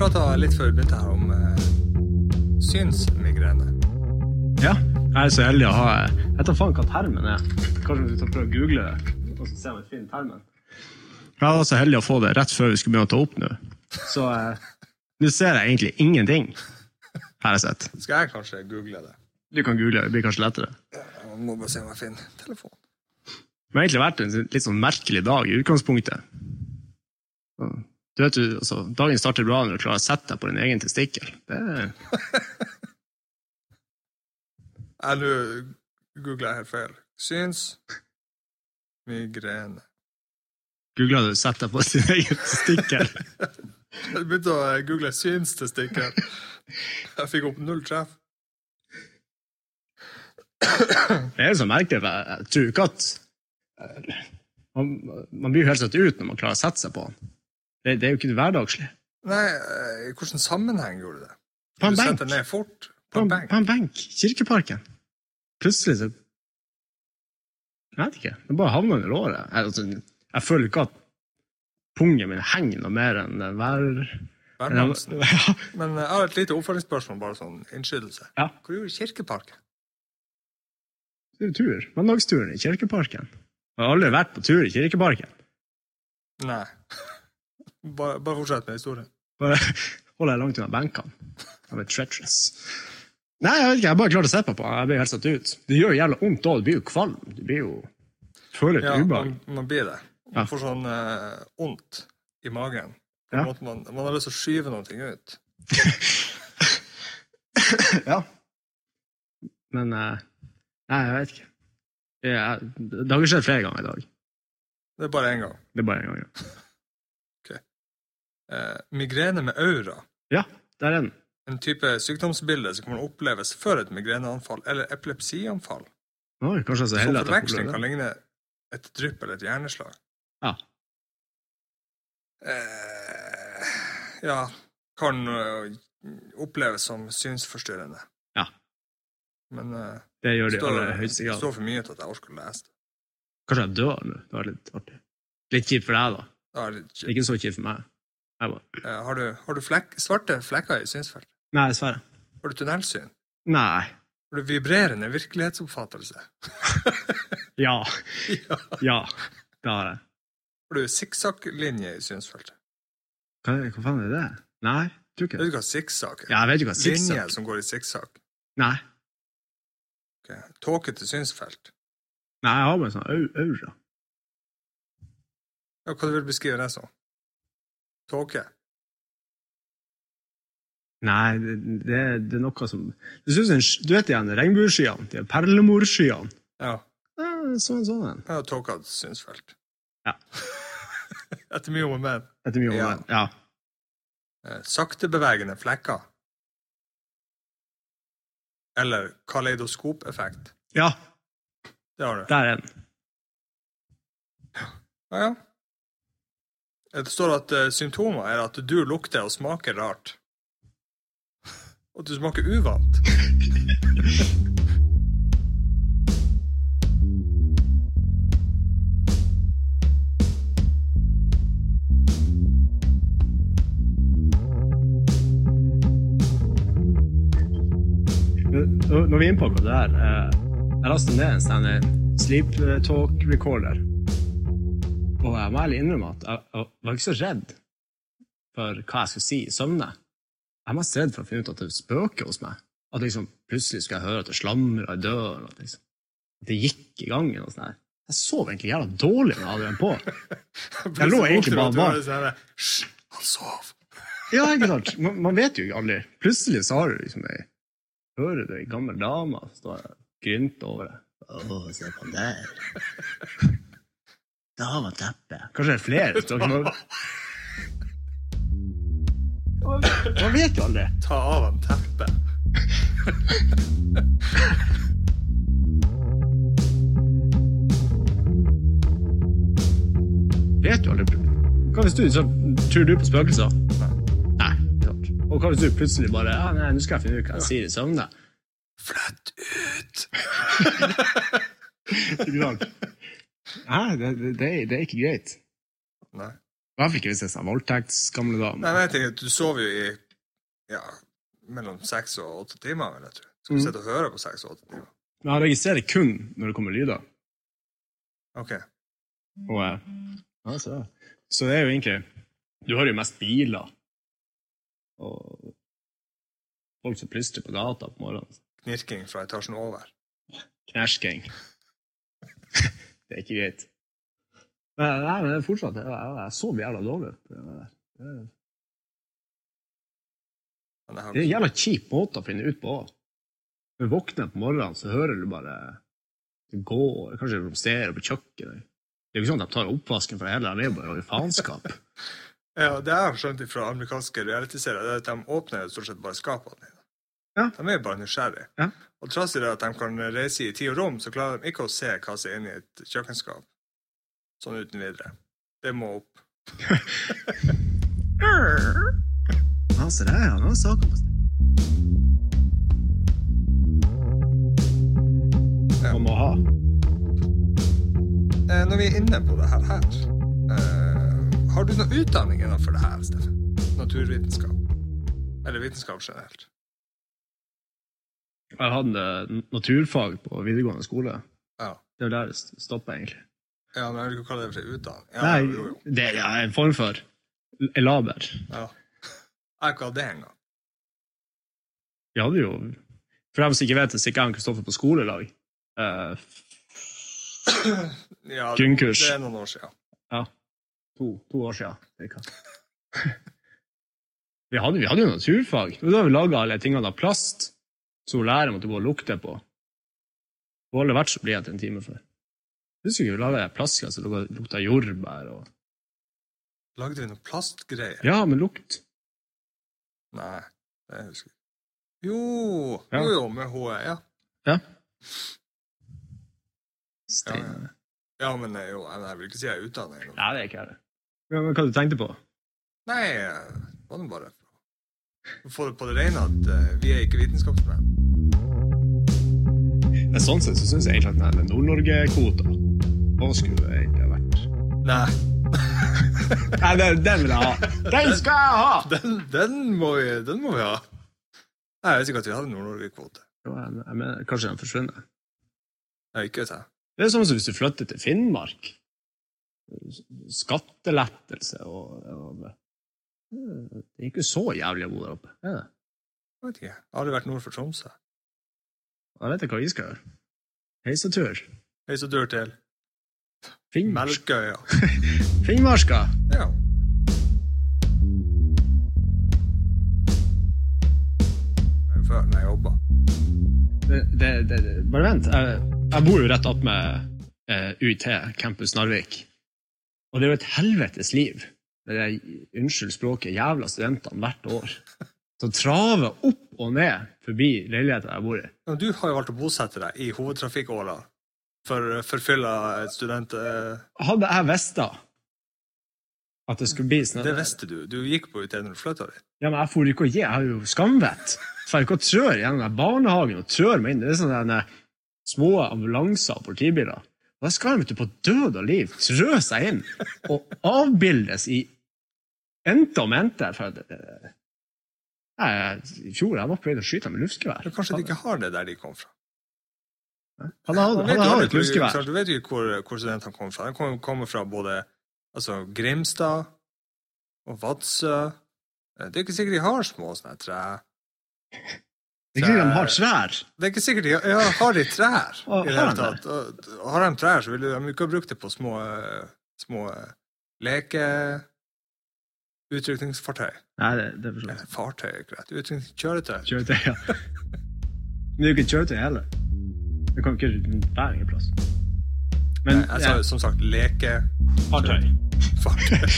prata Eh, litt før vi begynte her om eh, synsmigrene. Ja. Jeg er så heldig å ha Jeg vet da faen hva termen er. Kanskje vi skal prøve å google det, og så se om vi finner termen. Jeg var så heldig å få det rett før vi skulle begynne å ta opp nå. Så eh, nå ser jeg egentlig ingenting, har jeg sett. Skal jeg kanskje google det? Du kan google, det blir kanskje lettere. Jeg må bare se om jeg finner telefonen. Det har egentlig vært en litt sånn merkelig dag i utgangspunktet. Så, Du vet jo, altså, Dagen starter bra når du klarer å sette deg på din egen testikkel. Det er Jeg nå googler jeg helt feil. Synsmigrene. Googla du 'sett deg på sin egen testikkel'? Jeg begynte å eh, google synstestikker. Jeg fikk opp null treff. Det er jo så merkelig, for jeg, jeg tror ikke at eh, man, man blir jo helt satt ut når man klarer å sette seg på den. Det, det er jo ikke det hverdagslige. Nei, eh, i hvilken sammenheng gjorde du det? På en du benk! setter ned fort? På en, på en benk! Kirkeparken. Plutselig så Jeg vet ikke. Det bare havna under låret. Jeg, altså, jeg føler ikke at pungen min henger noe mer enn hver Værmannsen. Ja. Men eh, jeg har et lite oppfølgingsspørsmål, bare sånn innskytelse. Ja. Hva gjorde Kirkeparken? Det er jo tur. Mandagsturen i Kirkeparken. Jeg har aldri vært på tur i Kirkeparken. Nei. Bare, bare fortsett med historien. Bare holder jeg langt unna benkene. Jeg blir treacherous. Nei, jeg vet ikke, jeg bare klarte å se på på. Jeg blir helt satt ut. Det gjør jo jævla vondt òg. Du blir jo kvalm. Du blir jo Føler et Ja, ubehag. man, man blir det. Man Ja. får sånn eh, ondt i magen. På en Ja. måte man, man har lyst til å skyve noe ut. Ja. Men eh, Nei, jeg vet ikke. Det, er, det har ikke skjedd flere ganger i dag. Det er bare én gang. Det er bare én gang. ja. Eh, migrene med aura. Ja, der er den. En type sykdomsbilde som kan oppleves før et migreneanfall eller epilepsianfall. Oi, kanskje jeg er så Som heldig at jeg får forveksling oppleve kan det. ligne et drypp eller et hjerneslag. Ja. Eh, ja, kan eh, oppleves som synsforstyrrende. Ja. Men eh, Det gjør det de i aller står, høyeste grad. står for mye til at jeg orker å lese det. Kanskje jeg dør nå. Det var litt artig. Litt kjipt for deg, da. Da er det ikke- Ikke så kjipt for meg. Jeg bare, Eh, Har du, har du flekk, svarte flekker i synsfelt? nei, dessverre. Har du tunnelsyn? Nei. Har du vibrerende virkelighetsoppfattelse? Ja. ja. Ja. Det har jeg. Har du sikksakklinje i synsfeltet? Hva, hva faen er det? Nei, tror ikke Vet det. du hva sikksakk er? Ja, jeg vet ikke hva Linje sikksakk som går i sikksakk. Nei. Okay. Tåkete synsfelt. Nei, jeg har bare en sånn au- aura. Ja, hva du vil du beskrive det som? Tåke? Nei, det, det, det er noe som Du, synes en, sk- du vet igjen regnbueskyene? De perlemorskyene? Ja. Ja, sånn sånn en. ja Tåkete synsfelt. Ja. Etter mye om og men. Etter mye om Ja. det. Ja. Eh, Saktebevegende flekker. Eller kaleidoskopeffekt. ja, Det har du. der er den. Ja, ja. Det står at eh, symptomer er at du lukter og smaker rart. Og at du smaker uvant. Når når vi er inne på akkurat det her eh, Jeg lastet ned en sånn eh, sleep talk recorder. Og jeg må ærlig innrømme at jeg, jeg var ikke så redd for hva jeg skulle si i søvne. Jeg var mest redd for å finne ut at det spøker hos meg. At liksom plutselig skulle jeg høre at det slamra i døren. At liksom, at det gikk i gangen. og sånn her. Jeg sov egentlig jævla dårlig når jeg hadde den på. lå egentlig bare bak. bak. sånn Hysj, han sov. Ja, ikke sant? Man, man vet jo ikke aldri. Plutselig så har du liksom ei Hører du ei gammel dame som står og grynter over deg. Å, se på han der. Da var teppet. Kanskje det er flere. så kan Man, man vet jo aldri. Ta av han teppet. Vet jo aldri. Hva hvis du så, Tror du på spøkelser? Nei. ikke sant. Og hva hvis du plutselig bare ja, nei, nå skal jeg finne ut hva jeg sier i søvne? Flytt ut! Ikke sant? Nei, det, det, det er- det er ikke greit. Nei. I hvert fall ikke hvis det er sånn voldtektsgamle Nei, damer. men jeg tenker at du sover jo i ja, mellom seks og åtte timer, vil jeg tro. Skal du Mhm. sitte og høre på seks og åtte timer? Men han registrerer kun når det kommer lyder. Ok. Og, eh, ja, så. så det er jo egentlig Du hører jo mest biler. Og folk som plystrer på gata på morgenen. Knirking fra etasjen over. Knæsjking. det er ikke greit. Men, nei, men det er fortsatt Jeg, jeg, jeg sover jævla dårlig. på det der. Det er- Men jeg har- Det er en jævla kjip måte å finne ut på. også. Når du våkner på morgenen, så hører du bare det går, kanskje det romsterer på kjøkkenet. Det er jo ikke sånn at de tar oppvasken for det hele, det er jo bare faenskap. Ja, det jeg har skjønt fra amerikanske realityserier, det er at de åpner jo stort sett bare skapene dine. Ja. De er jo bare nysgjerrige. Ja. Og trass i det at de kan reise i tid og rom, så klarer de ikke å se hva som er inni et kjøkkenskap. Sånn uten videre. Det må opp. Ja, se der, ja. Nå er saken på stell. Ja. Man må ha. Eh, Når vi er inne på det her, her eh, Har du noe utdanning innenfor det her, Steffen? Naturvitenskap? Eller vitenskap generelt? Jeg hadde eh, naturfag på videregående skole. Ja. Det er jo der det stopper, egentlig. Ja, men jeg vil ikke kalle det for utdanning. Ja, jo, Nei, jo. det er en form for l- laber. Ja. Jeg har ikke hatt det engang. Vi hadde jo For dem som ikke vet det, så gikk jeg og Kristoffer på skolelag. Eh, Ja, Grunnkurs. Det er noen år siden. to, to år siden. cirka. Vi hadde, vi hadde jo naturfag. Det var Da vi laga alle tingene av plast, så læreren måtte gå og lukte på. På alle verts ble jeg til en time før. Husker ikke vi laga plastglass som lukta- lukta jordbær og Lagde vi noen plastgreier? Ja, men lukt. Nei, det husker jeg ikke. Jo, Ja. jo, jo, med HE, ja. Stein. Ja, Ja, men eh, jo, jeg jeg vil ikke si jeg er utdannet. eller noe. Nei, det er ikke det. Ja, men hva du tenkte på? Nei, eh, det var nå bare for å få det på det rene at eh, vi er ikke vitenskapsmenn. Men sånn sett så syns jeg egentlig at den Nord-Norge-kvota Hva skulle det egentlig ha vært? Nei, Nei, den, den vil jeg ha! Den skal jeg ha! den, den, må vi, den må vi ha. Nei, jeg vet ikke at vi hadde Nord-Norge-kvote. Jo, jeg, jeg mener, kanskje den forsvinner. Jeg vet ikke vet jeg. Det er sånn som hvis du flytter til Finnmark. Skattelettelse og, og eh, Det er ikke så jævlig å bo der oppe. Er det? Jeg vet ikke. Jeg har aldri vært nord for Tromsø. Da vet jeg hva vi skal gjøre. Heisetur. Jeg er så dør til. Finnmark. Melkøya. Finnmarka. Ja. Før når jeg jobba. Det, det, det, det. Bare vent. Jeg, jeg bor jo rett opp med eh, UiT, Campus Narvik. Og det er jo et helvetes liv med de, unnskyld språket, jævla studentene hvert år. Som traver opp og ned forbi leiligheten jeg bor i. Ja, Du har jo valgt å bosette deg i hovedtrafikkåla for forfylla student... eh, Hadde jeg visst da at det skulle bli snø Det visste du. Du gikk på UT når du flytta dit. Ja, men jeg får ikke å gi, jeg har jo skamvett. Så jeg ikke å trør gjennom den barnehagen og trør meg inn. Det er sånne der, eh, små ambulanser og politibiler. Og der skal de vet du, på død og liv trø seg inn og avbildes i ente og mente. For, at, eh, jeg, I fjor jeg var på vei til å skyte dem med luftgevær. Men kanskje de ikke har det der de kom fra? Han hadde, Man vet han jo hadde aldri et hvor- luftgevær. sant, Du vet jo ikke hvor, hvor studentene kommer fra. De kommer, kommer fra både altså, Grimstad og Vadsø. Eh, Det er ikke sikkert de har små sånne trær. Det er ikke sikkert de har trær. Det er ikke sikkert de ja, har de trær. Å, i det har hele de det? tatt. Og, og har de trær, så vil de de ikke ha brukt det på små, eh, små eh, leke... Utrykningsfartøy. Nei, det, det er for så vidt. Eller fartøy, er ikke rett. Utrykningskjøretøy. Kjøretøy, ja. Men det er jo ikke et kjøretøy heller. Det kan jo ikke være ingen plass. Men Nei, Jeg sa jo som sagt lekefartøy. ja, fartøy.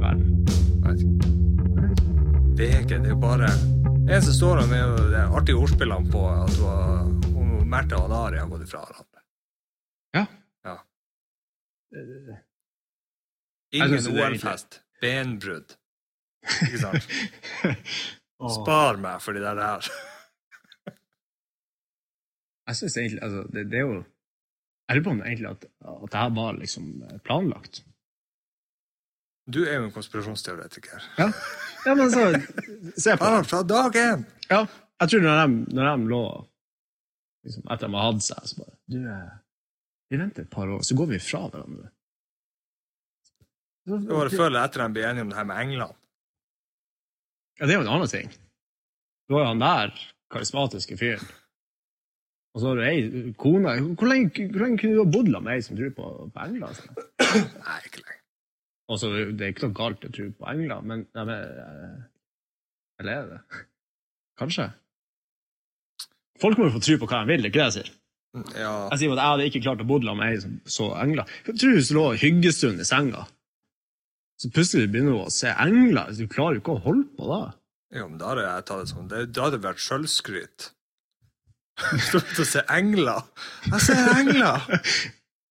Verden. Jeg vet ikke. Det er ikke, det er bare Det eneste står om, er jo de artige ordspillene på at hun har- hun- Märtha og Nari har gått ifra hverandre. Ja. Ja. Eh, Jeg Ingen synes det er OL-fest. Benbrudd. Ikke sant? Åh. Spar meg for de der der. Jeg synes egentlig altså, det, det er jo Jeg lurer på om egentlig at, at det her var liksom planlagt. Du er jo en konspirasjonsteoretiker. Ja, ja men så Se på det. Bare fra dag én! Ja. Jeg tror når de, når de lå liksom, Etter de har hatt seg, så bare Du, eh, vi venter et par år, så går vi fra hverandre. Det var det før eller etter de ble enige om det her med England. Ja, det er jo en annen ting. Du har jo han der karismatiske fyren. Og så har du ei kone Hvor lenge, hvor lenge kunne du ha bodd sammen med ei som tror på, på engler? Altså? Nei, ikke lenger. Altså, det er ikke noe galt å tro på engler, men nei, men, eh, Eller er det det? Kanskje? Folk må jo få tro på hva de vil, det er ikke det jeg sier. Mm, Ja. Jeg sier jo at jeg hadde ikke klart å bo sammen med ei som så engler. Jeg tror du lå og hyggestund i senga, så plutselig begynner hun å se engler. Du klarer jo ikke å holde på da. Jo, men da hadde jeg tatt det sånn. Det, da hadde det vært sjølskryt. Stått og se engler. Jeg ser engler!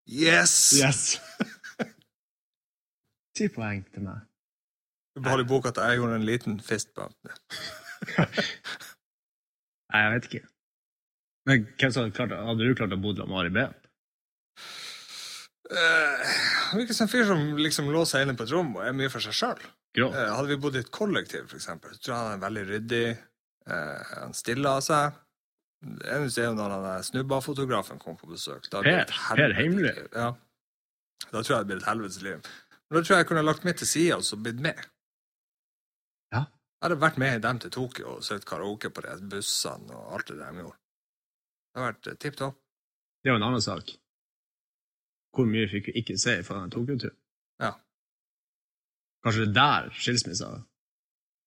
Yes! Yes. Ti poeng til meg. Du beholder i boka at jeg gjorde en liten fist bump. Nei, jeg vet ikke. Men hvem som hadde klart Hadde du klart å bo sammen med Ari Behn? Eh, Han virker som en fyr som liksom låser seg inne på et rom og er mye for seg sjøl. Grå. Eh, hadde vi bodd i et kollektiv, for eksempel, så tror jeg han er veldig ryddig. eh, han stiller av seg. Det eneste er jo når han der snubba-fotografen kom på besøk. Da blir det et Per- helvetes Per Heimly. liv. Ja. Da tror jeg det blir et helvetes liv. Men da tror jeg jeg kunne lagt meg til sida og så blitt med. Ja. Jeg hadde vært med dem til Tokyo og sett karaoke på de bussene og alt det der de gjorde. Det hadde vært eh, tipp topp. Det er jo en annen sak. Hvor mye fikk vi ikke se fra den Tokyo-turen? Ja. Kanskje det er der skilsmissa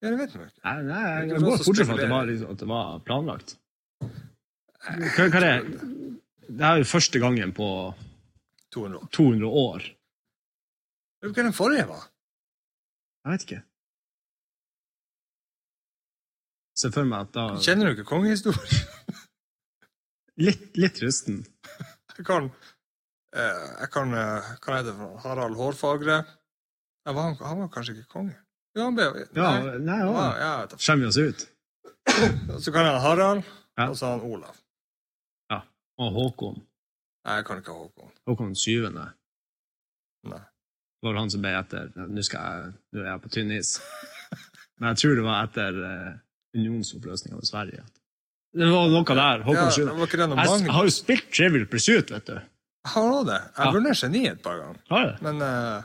Ja, det vet man jo ikke. Nei, nei, jeg Det er jeg ikke går så fortsatt for at det spekulerer. var, liksom, at det var planlagt. Hva, hva er det? Det her er jo første gangen på 200 år. 200 år. Vet du Hva den forrige var? Jeg vet ikke. Se for meg at da Kjenner du ikke kongehistorien? Litt, litt rusten. Jeg kan, eh, jeg kan eh, Hva heter det? for noe? Harald Hårfagre? Jeg var, han- han var kanskje ikke konge? Jo, han ble Ja, nei. nei, ja. Ja, ja, jeg vet Skjemmer vi oss ut? det. Så kan jeg Harald, Ja. og så har han Olav. Og Håkon. Nei, jeg kan ikke ha Håkon. Håkon den syvende. Nei. Det var vel han som ble etter Nå, skal jeg, nå er jeg på tynn is. Men jeg tror det var etter uh, unionsoppløsninga med Sverige. Det var noe der. Ja, Håkon det Sjøen. var ikke det noe Jeg s- Magnus? har jo spilt Trivial Pursuit, vet du. Jeg har også det. Jeg Ja. har vunnet Geni et par ganger. Har jeg? Men eh,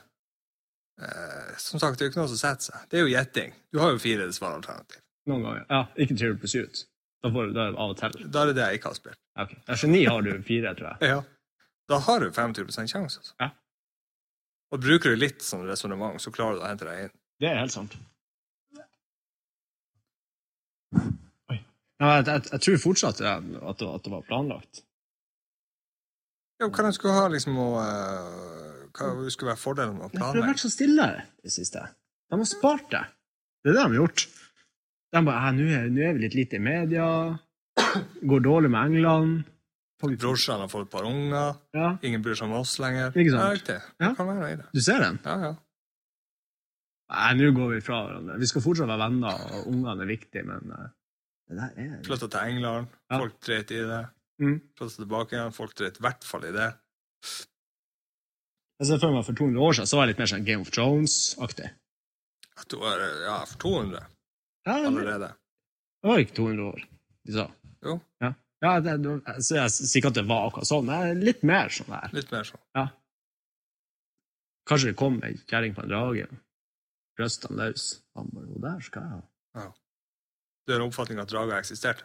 eh, som sagt, det er jo ikke noe som setter seg. Det er jo gjetting. Du har jo fire svaralternativ. Noen ganger. Ja, ikke Trivial Pursuit. Da får du det av og til. Da er det det jeg ikke har spilt. Ja, ok. Ja, Geni har du fire, tror jeg. Ja. Da har du 25 sjanse. Altså. Ja. Og bruker du litt sånn resonnement, så klarer du å hente deg inn. Det er helt sant. Oi. Nei, jeg, jeg, jeg tror fortsatt ja, at det, at det var planlagt. Ja, hva de skulle ha liksom å eh, Hva skulle være fordelen med å Nei, for det har planlegge? vært så stille i det siste. De har spart det. Det er det de har gjort. De bare «Ja, Nå er, nå er vi litt lite i media. Går dårlig med England. Brorsan har fått et par unger, Ja, ingen bryr seg om oss lenger. Ikke sant? Ja, riktig. Ja. Det kan være i det. du ser den? Ja, ja. Nei, nå går vi fra hverandre. Vi skal fortsatt være venner, og ungene er viktige, men eh, det der er Flytta til England, Ja. folk dreit i det. mm. Flytta tilbake igjen, folk dreit i hvert fall i det. Jeg ser for meg for 200 år siden så var jeg litt mer sånn Game of Thrones-aktig. At du er, ja, for 200 Ja, det allerede. var ikke 200 år, de sa. Jo. Ja, ja det, det- så jeg sier ikke at det var akkurat sånn, men litt mer sånn der. Litt mer sånn. Ja. Kanskje det kom ei kjerring på en drage. Brøst han løs. Han bare 'Å, der skal jeg ha'. Du har en oppfatning av at drager eksisterte?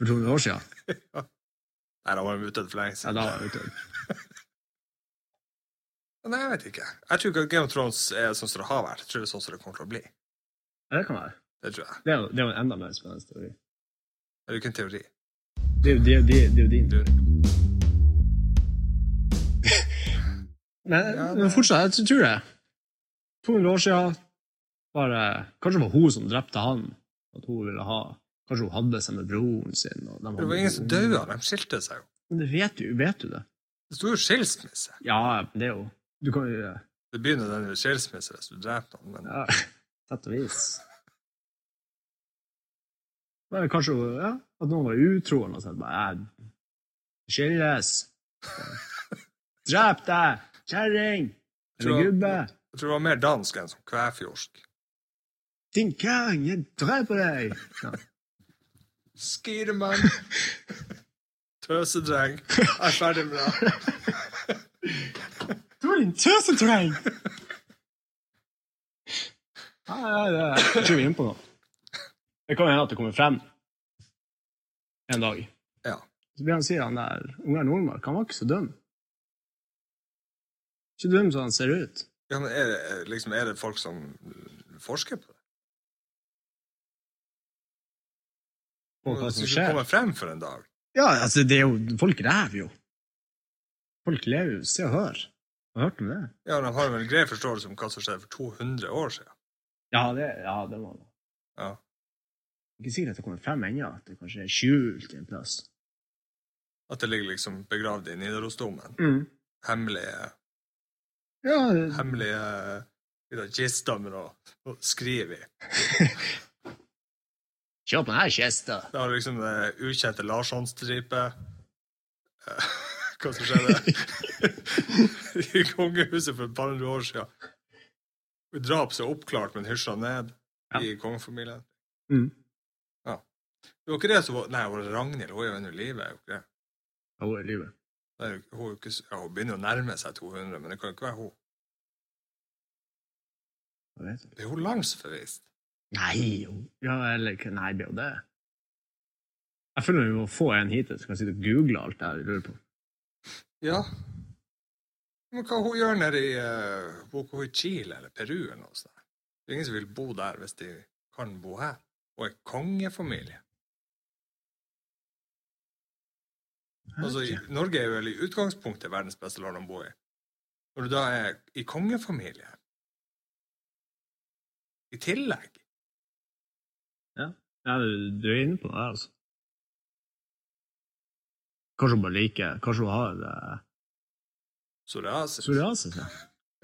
For 200 år siden. Nei, da var de utdødd for lenge Ja, siden. da var jeg ute. Nei, jeg vet ikke. Jeg tror ikke at Game of Thrones er sånn som det har vært. Jeg tror det er sånn som det kommer til å bli. Ja, det kan være. Det tror jeg. Det er jo, det er jo en enda mer spennende teori. Det er jo ikke en teori. Det er jo, det er jo, det er jo- det er jo din teori. Men, Ja, det- men fortsatt, jeg tror det. 200 år siden bare, Kanskje det var hun som drepte han. At hun ville ha Kanskje hun hadde seg med broren sin. Og de Det var ingen som døde av dem. De skilte seg jo. Men det vet du, vet du det? Det sto jo skilsmisse. Ja, det er jo Du kan jo Det blir nødvendigvis skilsmisse hvis du dreper noen, men Ja, sett og vis. Det er kanskje ja, at noen var utro eller noe sånt. Bare, jeg skilles. Drep deg! Kjerring! Tror- Eller gubbe! Jeg tror det var mer dansk enn som kvæfjordsk. Din kjerring, jeg dreper deg! Skidemann. Tøsedreng. Jeg er ferdig med det. Du er din tøsetreng! Nei, nei, nei, jeg tror vi er inne på noe. Det kan jo hende at det kommer frem en dag. Ja. Så blir han sier han der Ungar Nordmark, han var ikke så dum. Ikke dum som han ser ut. Ja, men er det, liksom, er det folk som forsker på det? På hva som Hvis det skjer. kommer frem for en dag. Ja, altså, det er jo Folk ræver jo. Folk lever jo. Se og hør. Har du hørt om det? Ja, De har vel en grei forståelse om hva som skjedde for 200 år siden. Ja, det, ja, det var det. Ja. Ikke sikkert at det kommer frem ennå, at det kanskje er skjult en plass. At det ligger liksom begravd i Nidarosdomen. Hemmelige, Ja, det- hemmelige eh, vet du, kister med noe å skrive i. Se på denne kista. Det har liksom eh, ukjente Larssonstripe. Eh, Hva som skjedde i kongehuset for et par hundre år siden. Drap seg oppklart, men hysja ned Ja. i kongefamilien. Mm. Ja. Det var ikke det som var Nei, var det Ragnhild hun er jo ennå i live. er jo ikke det? Ja, hun er i livet. Det er jo ikke- Hun, er jo ikke s- ja, hun begynner å nærme seg 200, men det kan jo ikke være hun. Jeg vet ikke. Det er hun langsforvist. Nei, hun- ja, eller ikke- nei, det er jo det. Jeg føler vi må få en hit som kan sitte og google alt det her vi lurer på. Ja. Men hva hun gjør nede i eh, Hvor hvor i Chile eller Peru eller noe sånt? Det er ingen som vil bo der hvis de kan bo her. Og en kongefamilie. Altså, i, Norge er vel i utgangspunktet verdens beste land å bo i. Når du da er i kongefamilie I tillegg Ja, du du er inne på det der, altså. Kanskje hun bare liker Kanskje hun har uh, psoriasis psoriasis? Ja.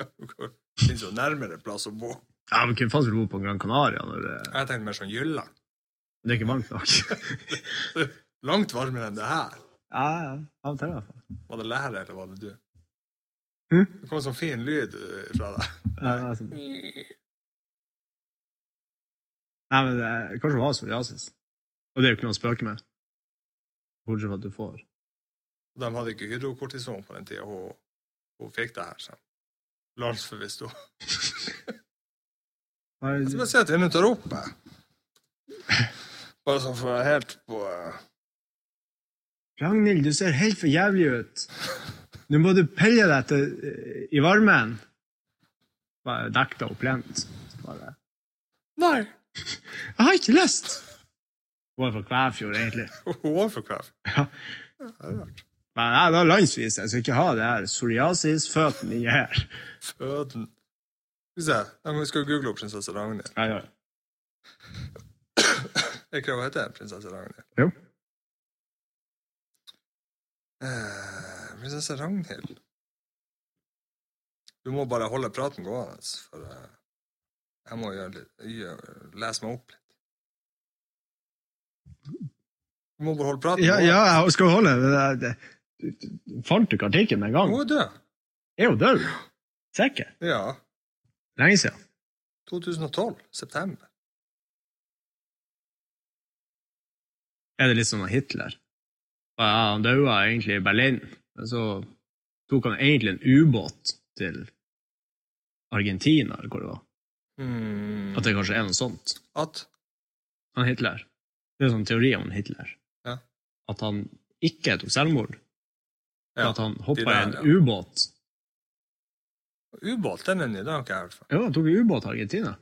altså- Det finnes jo nærmere plass å bo. ja, men hvem faen skulle bo på Gran Canaria når det, Jeg tenkte mer sånn Jylland. det er ikke varmt nok? Langt varmere enn det her. ja, ja. Av og til, i hvert fall. Var det lærer, eller var det du? Hm? Det kom en sånn fin lyd eh, fra deg. Ja, altså. Nei, men det, kanskje hun har psoriasis. Og det er jo ikke noe å spøke med. Bortsett fra at du får De hadde ikke hydrokortison på den tida hun, hun fikk det her. Så. Lars forvisste henne. Hva er Jeg skal det? bare se at hun tar opp jeg. Bare sånn for å være helt på eh, Ragnhild, du ser helt for jævlig ut. Nå må du pelle deg til, eh, i varmen. Bare dekk deg opp lent. Bare, Nei! jeg har ikke lyst! Hun er fra Kvæfjord, egentlig. Hun var for kvev. Ja. Det er rart. Men jeg er landsvis, jeg skal ikke ha det her psoriasis-føten i her. Føden Skal vi se. Ja, men Vi skal google opp prinsesse Ragnhild. Ja, ja. Er ikke det hun heter? Prinsesse Ragnhild? Jo. Eh, prinsesse Ragnhild Du må bare holde praten gående, for eh, jeg må gjøre litt, gjøre- lese meg opp litt. Du må bare holde praten Ja, gående. jeg skal holde det. det- det- Fant du ikke artikkelen med en gang? Hun er død. Er hun død? Sikker? Ja. Lenge siden. 2012. September. Er det litt som med Hitler? Ja, han døde egentlig i Berlin, men så tok han egentlig en ubåt til Argentina, eller hvor det var. Hmm. At det kanskje er noe sånt. At Han Hitler. Det er en sånn teori om Hitler. Ja. At han ikke tok selvmord, men ja. at han hoppa de der, i en ja. ubåt. Ubåt, den er ny. Den har ikke jeg hørt fra. Jo, han tok en ubåt til Argentina.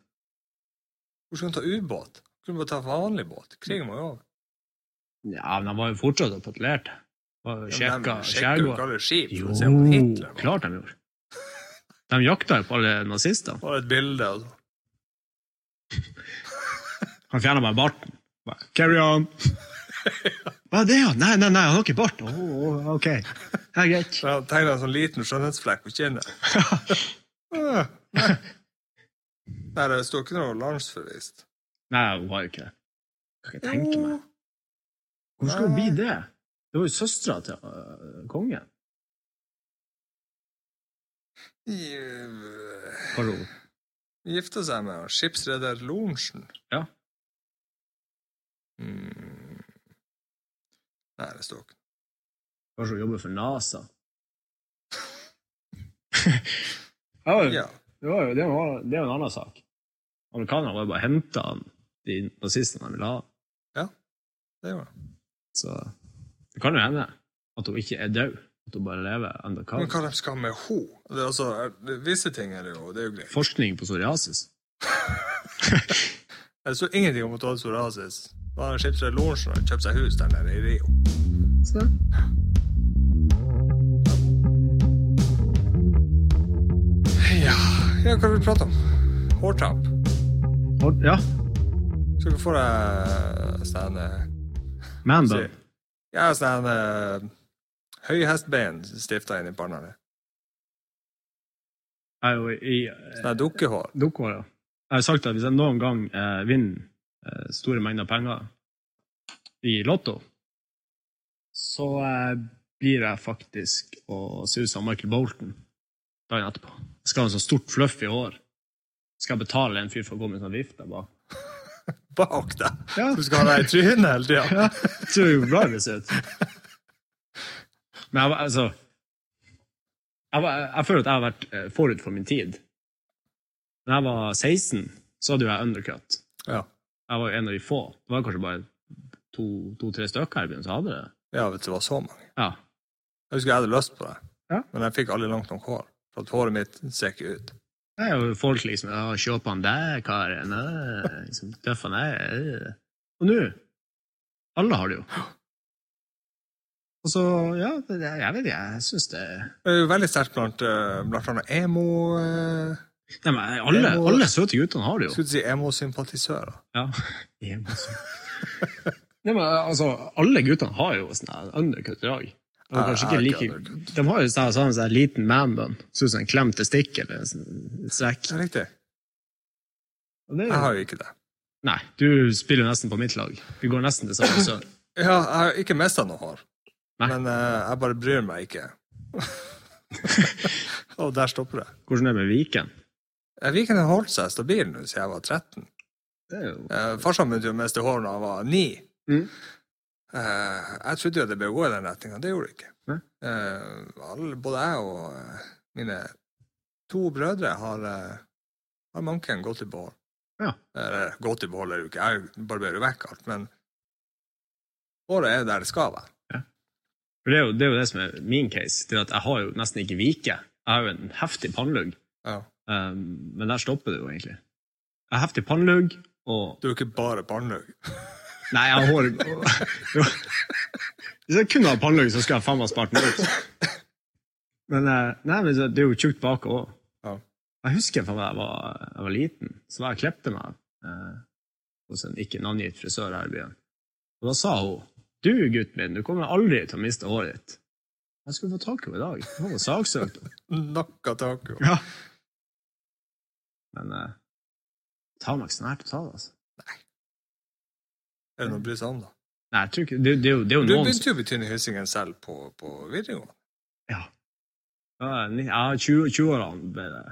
Hvor skal hun ta ubåt? Kunne bare ta vanlig båt. Krigen var jo over. Ja, men han var jo fortsatt og patruljerte. Ja, men de Sjekka sjekker jo ikke skjærgården. alle skip Jo, for å se om Hitler var klart de gjorde. De jakta jo på alle nazistene. Bare et bilde. altså? og så- Han fjerna meg barten. Bare, Carry on. Hva er det? ja? Nei, nei, nei, han har ikke bart. Å, å, ok. Det er greit. Jeg tegna en sånn liten skjønnhetsflekk på kinnet. Ah, Nei, Nei, det står ikke noe landsforvist. Nei, hun har jo ikke det. Kan ikke tenke meg. Hvorfor skulle hun bli det? Det var jo søstera til øh, kongen. Gi- Hva ro? Gifte eh, seg med han, skipsreder Lorentzen. Ja. Mm. Nei, det står ikke. Kanskje hun jobber for NASA? ja, det var- Ja. det, var, jo- det, var, det er jo en annen sak. Amerikanerne var jo bare henta de nazistene de ville ha. Det gjorde han. Så det kan jo hende at hun ikke er død, at hun bare lever enda Men kald. hva de skal med ho? Det er altså, er- det- visse ting er det jo, det er jo greit. Forskning på psoriasis. Jeg så ingenting om at du hadde psoriasis. Da hadde skipsreder Lorentzen og kjøpt seg hus der nede i Rio. Så. Ja, ja hva vil vi prate om? Hårtapp. Og- Ja, Skal du få deg sånn eh, manbun. Se. Ja, sånn uh, høyhestbein stifta inn i panna di. er jo i eh, Sånn dukkehår. dukkehåret. Jeg har jo sagt at hvis jeg noen gang eh, vinner eh, store mengder penger i Lotto, så eh, blir jeg faktisk å se ut som Michael Bolton dagen etterpå. Jeg skal ha en sånn stort fluff i hår. Skal jeg betale en fyr for å gå med en sånn vifte bak? Bak deg! Ja. Du skal ha deg i trynet hele tida. Ja, jeg tror jo bra det ser ut. Men jeg, var- altså jeg, var, jeg føler at jeg har vært eh, forut for min tid. Da jeg var 16, så hadde jo jeg undercut. Ja. Jeg var jo en av de få. Det var kanskje bare to- to-tre stykker her i byen som hadde det. ja, vet du, det var så mange. Ja. Jeg husker jeg hadde lyst på det, Ja. men jeg fikk aldri langt nok hår. For at håret mitt ser ikke ut. Det er jo folk liksom ja, 'Se på han der, karen.' øh, Liksom, Tøff han er. øh.» Og nå Alle har det jo. Og så, ja, det, det- jeg vet ikke, jeg syns det Det er jo veldig sterkt blant, eh, blant annet emo... eh, Nei, men alle, Jeg må- alle søte guttene har det jo. skulle du si emo-sympatisører? Ja. Nei, men altså, alle guttene har jo sånn her undercut-drag. De har Jeg- kanskje jeg ikke er like... ikke undercut. De har jo sånn sånn sånn liten man-bun, sånn som en klem til stikk eller en sånn strekk. Det er riktig. Og det er Jeg jo- har jo ikke det. Nei, du spiller jo nesten på mitt lag. Vi går nesten til samme sør. Ja, jeg har ikke mista noe hår, Nei. men eh, jeg bare bryr meg ikke. Og der stopper det. Hvordan er det med Viken? Eh, Viken har holdt seg stabil nå siden jeg var 13. Det er jo... Eh, farsan begynte jo å miste hår da han var 9. Mm. Eh, jeg trodde jo at det ble å gå i den retninga, det gjorde det ikke. Nei. Eh, alle, både jeg og eh, mine to brødre har, eh, har manken gått i behold. Ja. Eller gått i behold er det jo ikke, jeg barberer jo vekk alt, men håret er der det skal være. For det er jo, det er jo det som er min case, det er at jeg har jo nesten ikke Vike. Jeg har jo en heftig pannlugg, Ja. um, men der stopper det jo egentlig. Jeg har heftig pannlugg, og Du er jo ikke bare barnløk. Nei, jeg har hår Jo. Hvis jeg kunne ha pannelugg, så skulle jeg faen meg spart meg ut. Men, eh, nei, men så- det er jo tjukt bak òg. Ja. Jeg husker fra da jeg var, jeg var liten, så var jeg og klippte meg eh, hos en ikke navngitt frisør her i byen. Og da sa hun du, gutten min, du kommer aldri til å miste håret ditt. Jeg skulle få tak i henne i dag. Hun var saksøkt. Nakka taco. Ja. Men eh, ta meg ikke så nært å ta det, altså. Er det noe å bry seg om, da? Nei, jeg tror ikke, det, det, er jo- det er jo Du noen som- begynte jo å bety hyssingen selv på, på videregående. Ja, ni- ja 20 20-årene ble det.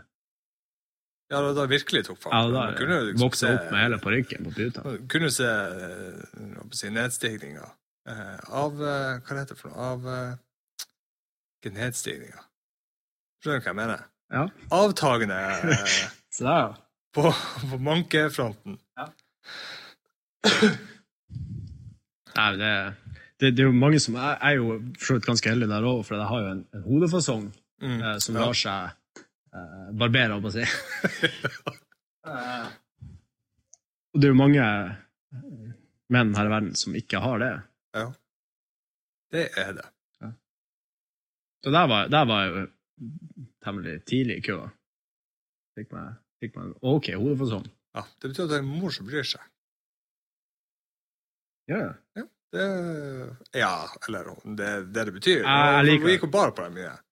Ja, da, da virkelig tok fart. Ja, da Man kunne jo liksom vokste se- opp med hele parykken på puta. Man kunne se eh, hva skal jeg si, nedstigninga eh, av eh, Hva heter det for noe? Av eh, Ikke nedstigninga. Skjønner du hva jeg mener? Ja. Avtagende eh, Så der, ja. på, på mankefronten. Nei, det, det, det er jo mange som Jeg jeg er jo for så vidt ganske heldig der òg, for jeg har jo en, en hodefasong Mm. eh, som Ja. lar seg eh, barbere, holdt jeg på å si. Eh, Og det er jo mange eh, menn her i verden som ikke har det. Det er det. Så der var, der var jeg jo temmelig tidlig i køa. Fikk meg, fikk meg en OK hodefasong. Ja, det betyr at det er en mor som bryr seg. Ja, ja. Det, ja, eller det er det det betyr. Ja, jeg liker Vi det. gikk jo bare på deg mye.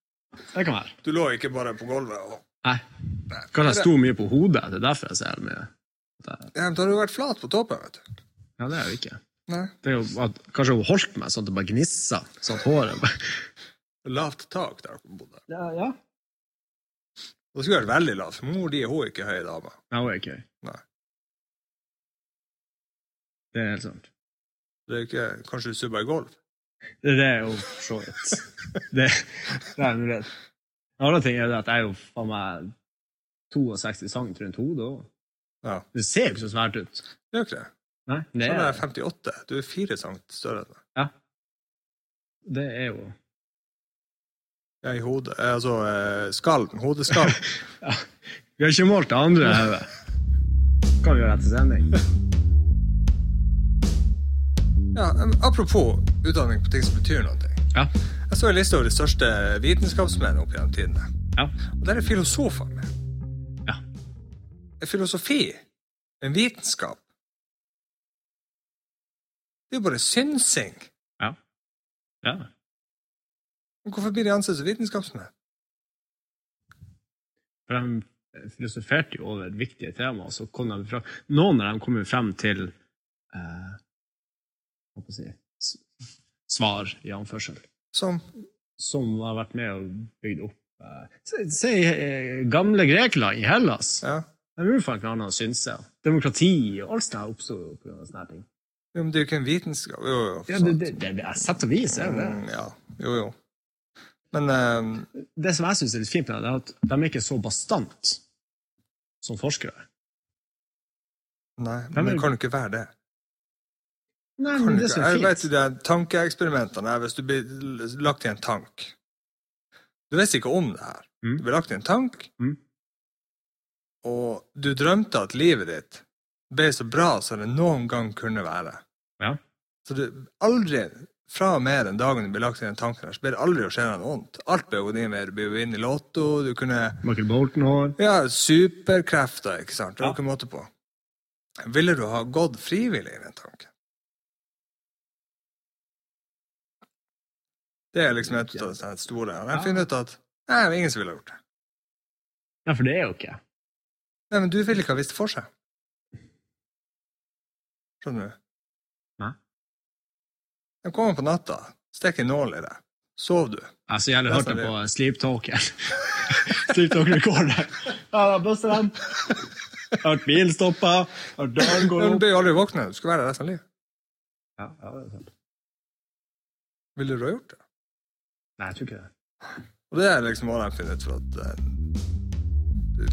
det kan være. Du lå ikke bare på gulvet og Nei. Nei. Kanskje jeg sto mye på hodet. Det er derfor jeg ser mye. Ja, men Da har du vært flat på toppen, vet du. Ja, det er jo ikke. Nei. Det er jo at, kanskje hun holdt meg sånn at det bare gnissa. Sånn at håret bare Lavt tak der dere bodde. ja, ja. Da skulle jeg vært veldig lav. for Mor di er hun ikke høy dame. Nei, hun er ikke høy. Nei. Det er helt sant. Det er ikke, kanskje du subber i gulv? Det er det er jo for så vidt. Det, det er jeg nå redd. En annen ting er det at jeg er jo faen meg 62 cent rundt hodet òg. Ja. Det ser jo ikke så svært ut. Det er jo ikke det. Nei, det Sånn er er, jeg 58. Du er fire cent større enn meg. det er jo Jeg er i hodet. eh, Altså eh, skallen. Hodeskallen. ja. Vi har ikke målt det andre hodet. Kan vi gjøre etter sending? Ja, em, apropos utdanning på ting som betyr noe. Ja. Jeg så en liste over de største vitenskapsmennene opp gjennom tidene. Ja. Og der er filosofene med. Ja. En filosofi, en vitenskap Det er jo bare synsing. ja. Men Hvorfor blir de ansett som vitenskapsmenn? For de filosoferte jo over viktige temaer, så kom de fra Noen av dem kom jo frem til eh, Hva skal jeg si s- Svar, i anførsel. Som som har vært med og bygd opp eh, Se, se eh, gamle Grekland i Hellas. Ja. De gjorde faen ikke annet enn å synse. Demokrati og alt det her oppsto jo på grunn av sånne her ting. Jo, men det er jo ikke en vitenskap. Jo, jo. Ja, det, sant. det, det, det er sett og vis, er jo det. Mm, ja. Jo, jo. Men eh, Det som jeg syns er litt fint med det, er at de er ikke så bastant som forskere. Nei, Ja, men men- det kan jo ikke være det. Nei, Kan men du det ikke? som Jeg er vet fint jo det er tankeeksperimentene her, hvis du blir l- lagt i en tank. Du visste ikke om det her. Mm. Du ble lagt i en tank, Mm. og du drømte at livet ditt ble så bra som det noen gang kunne være. Ja. Så du aldri, fra og med den dagen du ble lagt i den tanken her, så ble det aldri å skje deg noe vondt. Alt ble jo din vei. Du ble jo inn i lotto, du kunne Michael Bolton-hår. ja, superkrefter, ikke sant? Det var Ja. ikke måte på. Ville du ha gått frivillig i den tanken? Det er liksom et av de store. Og jeg Ja. finner ut at nei, det er ingen som ville ha gjort det. Ja, for det er jo ikke Nei, men du ville ikke ha visst det for seg. Skjønner du? Nei. De kommer på natta, stikker en nål i deg, sov du. Jeg så gjerne hørte Det er på Sleep Talker. Sleep Talker Recorder. Ja, da buster dem. Hørt bilen stoppe. Hørt døren gå Men Du opp. blir jo aldri våkne, du skal være der resten av livet. Ja, ja, det er sant. Ville du ha gjort det? Nei, jeg tror ikke det. Og det er liksom hva de finner ut for at eh,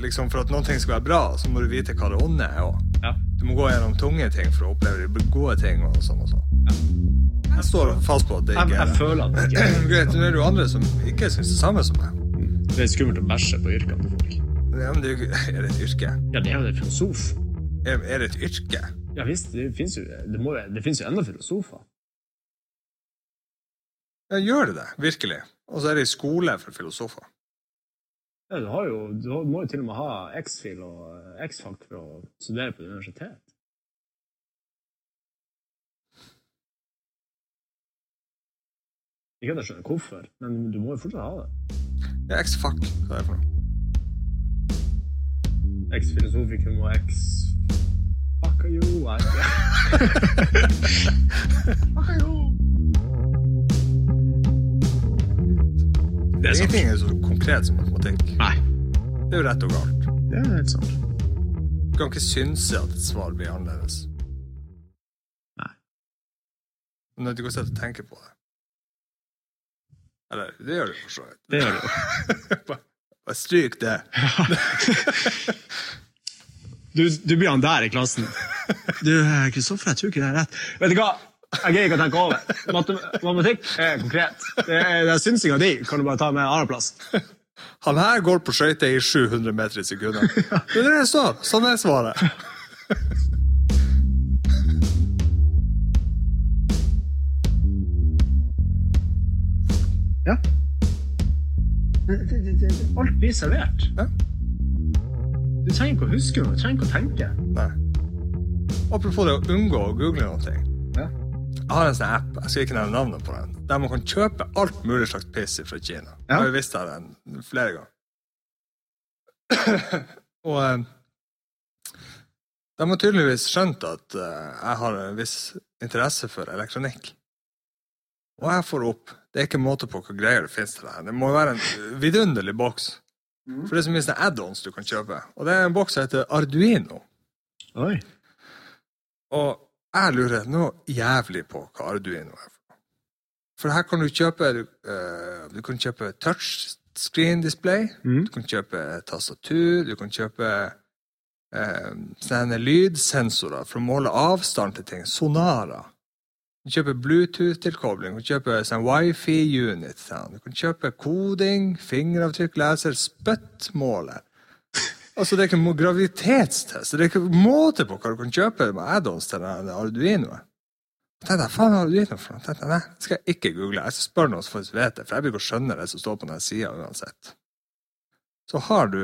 liksom For at noen ting skal være bra, så må du vite hva det onde er òg. Ja. Du må gå gjennom tunge ting for å oppleve de gode ting og sånn og sånn. Jeg står fast på at det Jeg, ikke jeg er det. føler at det ikke er Greit, nå er det jo andre som ikke syns det samme som meg. Det er skummelt å bæsje på yrkene til folk. Ja, men det er, jo ikke- er det et yrke? Ja, det er jo det filosof. Er, er det et yrke? Ja visst, det finnes jo, det må, jo- det finnes jo enda filosofer. Ja, gjør det det? Virkelig? Og så er det i skole for filosofer. Ja, du, har jo, du har- må jo til og med ha X-fil og eh, X-fac for å studere på universitet. Ikke at jeg skjønner hvorfor, men du må jo fortsatt ha det. Ja, X-fuck, hva er det for noe? X-filosofikum og X... Fuck you, I Fuck you! Det er sant. Ingenting er så konkret som matematikk. Nei, Det er jo rett og galt. det er helt sant. Du kan ikke synse at et svar blir annerledes. Nei. Men det går ikke an å tenke på det. Eller, det gjør du for så vidt. Det gjør du. Bare bare stryk det. Du, du blir han der i klassen. Du, eh, Kristoffer, jeg tror ikke det er rett. Vet du hva? Jeg greier ikke å tenke over det. Matem- Matematikk er konkret. Det er, det er synsinga di. Kan du bare ta med en annen plass? Han her går på skøyter i 700 meter i sekundet. Det er det jeg sa. Sånn er svaret. Ja. Alt blir servert. Ja. Du trenger ikke å huske noe. Du trenger ikke å tenke. Nei. Apropos det å unngå å google noe. Ja. Jeg har en sånn app, jeg skal ikke nevne navnet på den, der man kan kjøpe alt mulig slags piss fra Kina. Ja. Jeg har jo visst det den flere ganger. Og eh, de har tydeligvis skjønt at eh, jeg har en viss interesse for elektronikk. Og jeg får opp Det er ikke måte på hva greier det finnes til det her. Det må jo være en vidunderlig boks. Mhm. For det er så mye sånne add-ons du kan kjøpe. Og det er en boks som heter Arduino. Oi. Og jeg lurer noe jævlig på hva Arduino er. for noe. For her kan du kjøpe Du, eh, du kan kjøpe touchscreen-display, Mhm. du kan kjøpe tastatur, du kan kjøpe eh, sånne lydsensorer for å måle avstand til ting. Sonarer. Du kan kjøpe Bluetooth-tilkobling, du kan kjøpe sånn wifi-unit. Sånn. Du kan kjøpe koding, fingeravtrykk, leser, spyttmåler. Altså, det er ikke mo- graviditetstest. Det er ikke måte på hva du kan kjøpe med add-ons til den der Arduinoen. Jeg tenkte, faen er Arduino for noe? Jeg Tenkte, nei, det skal jeg ikke google. Jeg skal spørre noen som faktisk vet det, for jeg blir ikke å skjønne det som står på den sida uansett. Så har du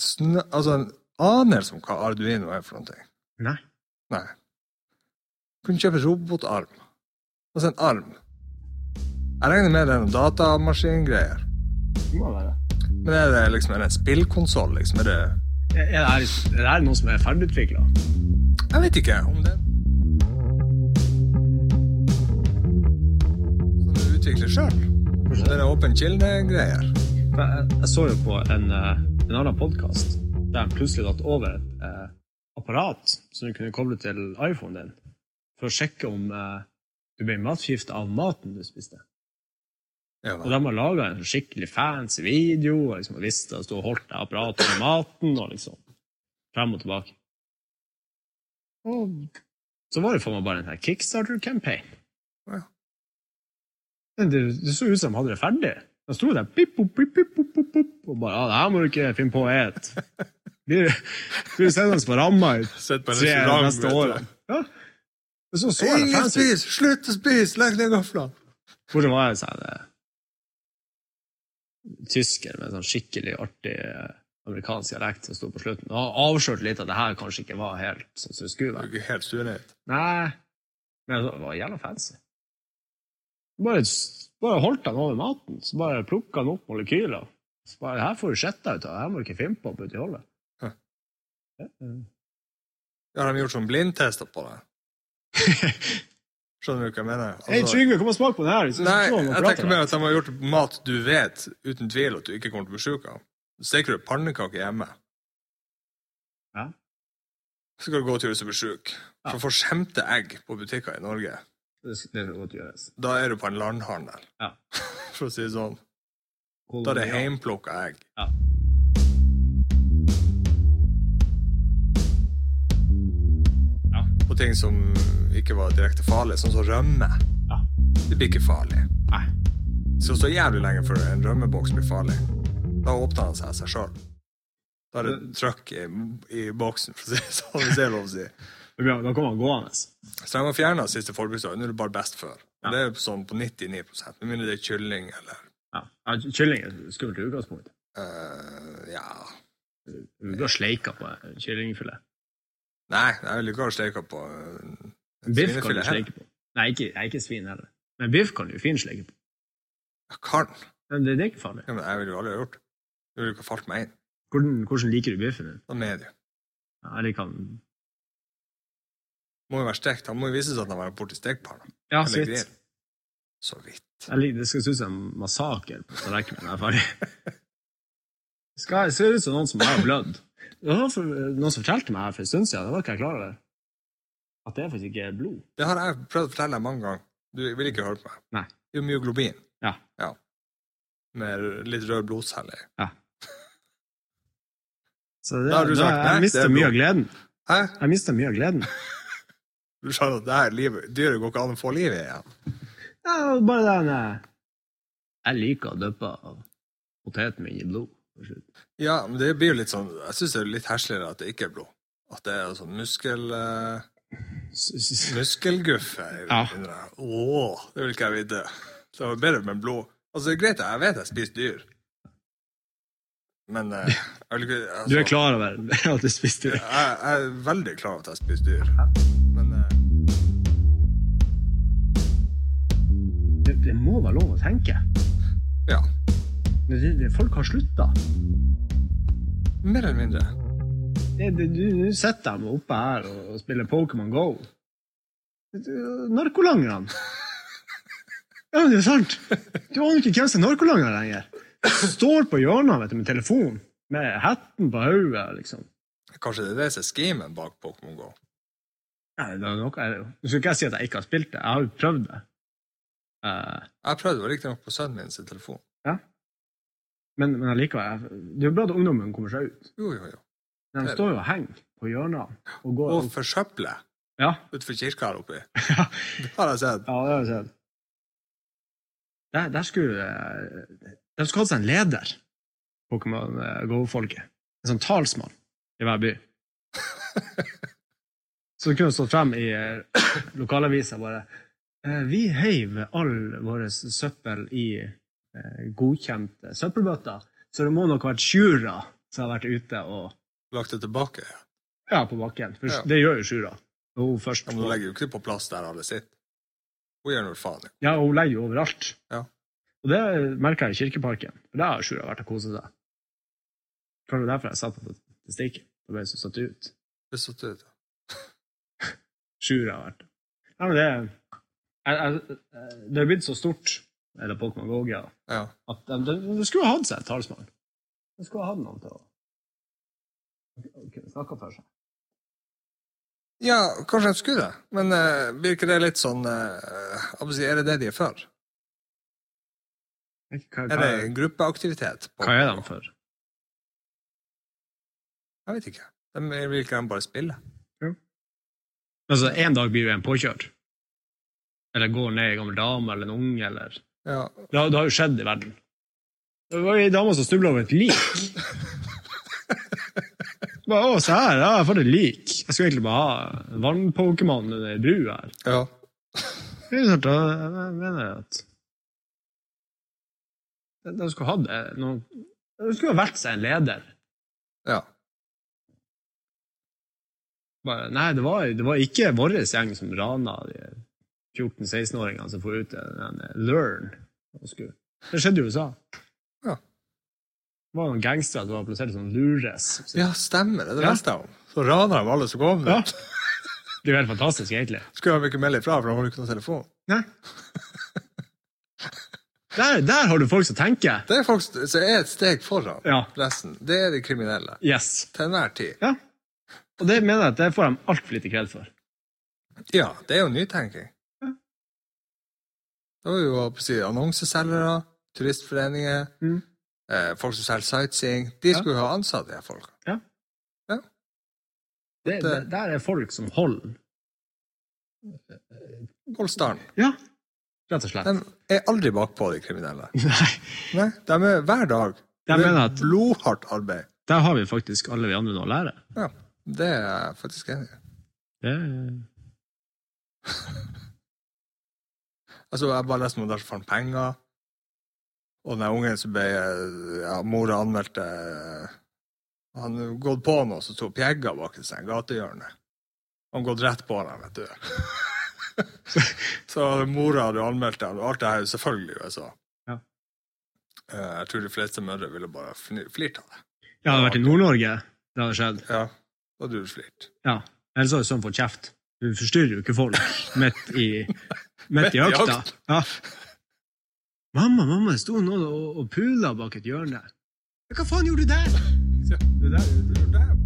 snø, altså en anelse om hva Arduino er for noe. Nei. Nei. Du kunne kjøpe robotarm. Altså en arm. Jeg regner med det er noen datamaskingreier. Det må være. Men er det liksom er det en spillkonsoll? Liksom? Er det Er er det, her- er det her noe som er ferdigutvikla? Jeg vet ikke om det Som du utvikler sjøl. Mm. Det er åpen kilde-greier. Jeg, jeg så jo på en, eh, en annen podkast der de plutselig datt over et eh, apparat som du kunne koble til iPhonen din for å sjekke om eh, du ble matforgifta av maten du spiste. Ja, Og de har laga en skikkelig fancy video og liksom og visste at du har holdt deg apparatet med maten og liksom frem og tilbake. Og så var det for meg bare en sånn her Kickstarter-campaign. Ja. Men Det, det så ut som de hadde det ferdig. De sto der pip, pop, pip, pip, pop, pop, pop, og bare ja, det her må du ikke finne på å et. Blir blir sendende på ramma i Sett på en tre restaurant. neste vet åra. du. Ja. Men så så jeg det Ingen fancy ut. spis! Slutt å spise! Legg ned gaflene! Hvor det var en sånn eh, tysker med en sånn skikkelig artig eh, amerikansk dialekt som sto på slutten. Og avslørte litt at det her kanskje ikke var helt sånn som det skulle Du er være. ikke helt surhet. Nei, men det var jævla fancy. Bare, bare holdt han over maten, så bare plukka han opp molekyler. Så bare, her får du sjetta ut av, det her må du ikke finne på å putte i hullet. Hæ. Ja, eh. Har de gjort sånn blindtester på det? Skjønner du hva jeg mener? Altså- Hei, Trygve, kom og smak på den her! Hvis du Nei, forstår om jeg apparatet tenker der. mer at de har gjort mat du vet, uten tvil, at du ikke kommer til å bli sjuk av. Steker du pannekaker hjemme, Ja. så skal du gå til hvis du blir sjuk. Ja. For å få skjemte egg på butikker i Norge, Det skal- Det skal godt gjøres. da er du på en landhandel. Ja. For å si det sånn. Da er det heimplukka egg. Ja. Ja. Og ting som ikke var direkte farlige, sånn som rømme. Ja. Det blir ikke farlig. Nei. Det skal stå jævlig lenge før en rømmeboks blir farlig. Da åpner han seg av seg sjøl. Da er det trøkk i, i boksen, for å si det sånn. hvis det er lov å si. Det blir- Da kommer han gående. Så de har fjerna siste forbruksdag. Nå er det bare best før. Ja. Og Det er sånn på 99 med mindre det er kylling eller Ja. Ja, Kylling er et skummelt utgangspunkt. eh, Ja Du blir sleika på en kyllingfilet. Nei, jeg vil ikke ha steika på eh, Biff kan du svinefilet heller. sleike på. Nei, ikke, nei, ikke svin heller. Men biff kan du fint sleike på. Jeg kan, Men det, det er ikke farlig. ja, men jeg ville jo aldri ha gjort det. Jeg ville ikke ha falt meg inn. Hvordan, hvordan liker du biffen din? Da er det jo. Ja, Jeg liker den Må jo være stekt. Han må jo vise seg at han har vært borti stekepanna. Ja, Eller grill. sitt. Så vidt. Jeg liker, det skal se ut som en massakre på tallerkenen når jeg er ferdig. Det Skal, det ser ut som noen som har blødd. Det var for, noen som fortalte meg her for en stund siden, det var ikke jeg klar over. At det er faktisk ikke er blod. Det har jeg prøvd å fortelle deg mange ganger. Du vil ikke høre på meg. Nei. Det er jo myoglobin. Ja. Med litt rød blodcelle i. Så det, Da har du da- sagt, nei, jeg det mister er mye blod. av gleden. Hæ? Jeg mister mye av gleden. Du skjønner at det her livet, dyret går ikke an å få liv i igjen. Ja, bare den eh, Jeg liker å dyppe av poteten min i blod. for slutt. Ja, men det blir jo litt sånn Jeg syns det er litt hesligere at det ikke er blod. At det er sånn muskel... eh, S- s- muskelguff her. Ja. Åh, det vil ikke jeg vite. Det var bedre med blod. Altså, det er greit, jeg vet jeg spiser dyr. Men eh, jeg vil ikke altså, Du er klar over at du spiste det? Jeg, jeg er veldig klar over at jeg spiser dyr. Men eh, Det, det må være lov å tenke. ja. Men det, det, folk har slutta. Mer eller mindre. Det- det- Du du sitter dem oppe her og, og spiller Pokémon Go. Det- det- Narkolangerne. Ja, men det er sant. Du aner ikke hvem som er narkolanger lenger. Står på hjørnet vet du, med telefon, med hetten på hodet, liksom. Kanskje det er det som er schemen bak Pokémon GO. Nei, det er noe, jeg, nå skal ikke jeg si at jeg ikke har spilt det, jeg har jo prøvd det. Eh, Jeg prøvde det riktignok på sønnen min sin telefon. men, men allikevel, jeg- det er jo bra at ungdommen kommer seg ut. Jo, jo, jo. Men De står jo og henger på hjørnene og går Og forsøple Ja. utenfor kirka her oppe. ja, Det har jeg sett. det har jeg sett. Der, der skulle eh, De skulle hatt seg en leder, Pokémon eh, Go-folket. En sånn talsmann i hver by. Så de kunne stått frem i eh, lokalavisa bare eh, Vi heiv all vår søppel i eh, godkjente søppelbøtter, så det må nok ha vært tjuver som har vært ute og Lagt det tilbake. Ja, på bakken. For Ja. det gjør jo Sjura. Og Hun først Ja, men Hun legger jo ikke på plass der alle sitter. Hun gjør noe faen. Ja, hun legger jo overalt. Ja. Og det merker jeg i Kirkeparken. For der har Sjura vært og koset seg. Kanskje det var derfor jeg satt på statistikken. Det ble så satt ut. Det er så tydelig. Sjura har vært Nei, men det jeg, jeg, Det har blitt så stort, eller Pokémon Gogia, Ja. at de, de, de skulle ha hatt seg et talsmann. De skulle ha hatt noen til å å kunne snakke for seg. ja, kanskje de skulle det, men eh, blir ikke det litt sånn eh, jeg må si, Er det det de er for? Jeg vet ikke Hva, Er det en gruppeaktivitet? på- hva er de for? Jeg vet ikke. De vil ikke de bare spille? Altså, en dag blir jo en påkjørt. Eller går ned en gammel dame eller en unge, eller Ja. Det har, det har jo skjedd i verden. Det var ei dame som snubla over et lik. Bare, å, se her, ja, jeg har fått et lik. Jeg skulle egentlig bare ha en vannpokémon under ei bru her. ja. Det er sant, da, jeg mener at De- De skulle hatt eh, noen De skulle ha valgt seg en leder. ja. Bare, nei, det var, det var ikke vår gjeng som rana de 14-16-åringene som får ut den eh, Learn. og skulle- Det skjedde i USA. Ja. Det var noen gangstere som var plassert som lures. Så Ja, stemmer det. Det Ja. leste jeg om. Så raner de alle som kom. Ja. Ja. Det er jo helt fantastisk, egentlig. Skulle de ikke melde ifra, for de har jo ikke noen telefon. Der, der har du folk som tenker! Det er folk som er et steg foran Ja. resten. Det er de kriminelle. Yes. Til enhver tid. Ja. Og det mener jeg at det får de altfor lite kred for. Ja, det er jo nytenking. Ja. Det var jo hva på å si, annonseselgere, turistforeninger, Mm. eh, folk som selger sightseeing. De Ja. skulle jo ha ansatt de her folka. Det, Det- det, der er folk som holder. Hold stand. Ja. Rett og slett. De er aldri bakpå, de kriminelle. Nei. Nei, de er hver dag. Jeg Det er mener at- Blodhardt arbeid. Der har vi faktisk alle vi andre noe å lære. Ja, det er jeg faktisk enig i. Det er Altså, jeg bare leste om der som fant penger, og den der ungen som ble eh, ja, Mora anmeldte eh, Han hadde gått på noe, så tok pjegga bak i seg, gatehjørnet. Han gått rett på dem, vet du. så mora hadde jo anmeldt ham, og alt det her er jo selvfølgelig i USA. Ja. Eh, Jeg tror de fleste mødre ville bare fni- flirt av det. Jeg hadde vært i Nord-Norge, det hadde skjedd. Ja, da hadde du flirt. Ja. Ellers hadde sånn fått kjeft. Du forstyrrer jo ikke folk midt i, midt i økta. økt. Ja. Mamma, mamma, det sto noen og, og pula bak et hjørne. Hva faen gjorde du der? Ja. Det er jo det.